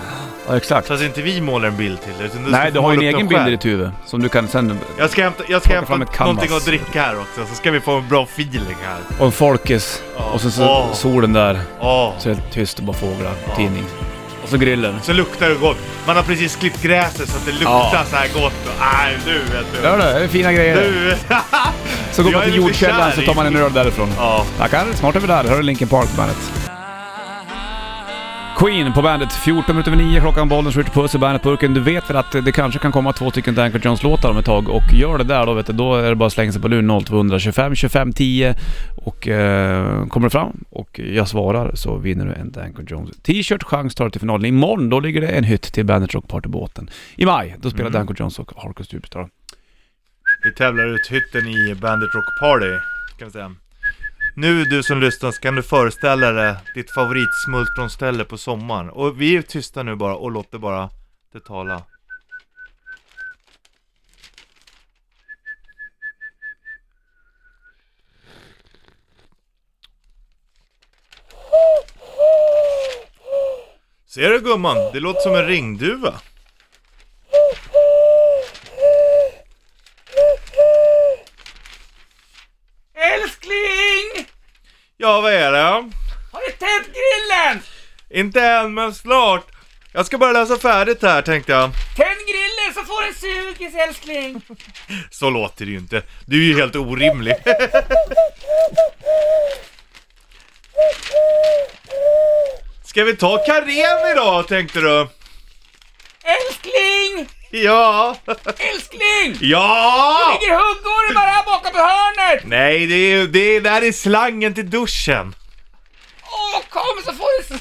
Speaker 1: ja exakt.
Speaker 2: Så att inte vi målar en bild till dig, utan du
Speaker 1: Nej,
Speaker 2: ska
Speaker 1: du
Speaker 2: få
Speaker 1: har ju
Speaker 2: måla
Speaker 1: en
Speaker 2: upp
Speaker 1: egen
Speaker 2: den
Speaker 1: bild i
Speaker 2: själv.
Speaker 1: ditt huvud som du kan sen...
Speaker 2: Jag ska hämta, jag ska
Speaker 1: Plocka fram ett
Speaker 2: hämta någonting
Speaker 1: canvas.
Speaker 2: att dricka här också, så ska vi få en bra feeling här.
Speaker 1: Och en folkis.
Speaker 2: Ja.
Speaker 1: Och sen så
Speaker 2: Åh.
Speaker 1: solen där.
Speaker 2: Åh.
Speaker 1: Så är det helt tyst och bara fåglar. Tidning. Och så grillen.
Speaker 2: Så luktar det gott. Man har precis klippt gräset så att det luktar
Speaker 1: Ja.
Speaker 2: så här gott. Och, nej, du vet du.
Speaker 1: Hör du? Det är fina grejer.
Speaker 2: Du!
Speaker 1: Så går
Speaker 2: jag
Speaker 1: man
Speaker 2: är
Speaker 1: till
Speaker 2: lite
Speaker 1: jordkällaren så
Speaker 2: kär i-
Speaker 1: tar man en öl därifrån.
Speaker 2: ja.
Speaker 1: Tackar, snart är vi där. Hör du Linkin Park på bandet. Queen på bandet. 14 minuter över 9 klockan, bollen skjuter puss i bandetburken. Du vet väl att det kanske kan komma två stycken Danko Jones-låtar om ett tag och gör det där då vet du, då är det bara att slänga sig på luren 0200 25 25 10 och eh, kommer du fram och jag svarar så vinner du en Danko Jones t-shirt. Chans tar du till finalen. Imorgon då ligger det en hytt till Bandet Rock Partybåten. I maj, då spelar
Speaker 2: Mm.
Speaker 1: Danko Jones och Harkus Superstar.
Speaker 2: Vi tävlar ut hytten i Bandit Rock Party, kan vi säga. Nu du som lyssnar, så kan du föreställa dig ditt favoritsmultronställe på sommaren? Och vi är tysta nu bara och låter bara det tala. Ser du gumman? Det låter som en ringduva.
Speaker 3: Älskling!
Speaker 2: Ja, vad är det?
Speaker 3: Har du tänt grillen?
Speaker 2: Inte än, men snart. Jag ska bara läsa färdigt här tänkte jag.
Speaker 3: Tänd grillen så får du en sugis älskling!
Speaker 2: Så låter det ju inte. Du är ju helt orimlig. Ska vi ta Carrera idag tänkte du?
Speaker 3: Älskling!
Speaker 2: Ja!
Speaker 3: Älskling!
Speaker 2: Ja!
Speaker 3: Ligger huggormar bara här borta på hörnet!
Speaker 2: Nej, det är ju, det är, där är slangen till duschen.
Speaker 3: Åh kom så får du en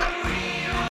Speaker 3: sugis!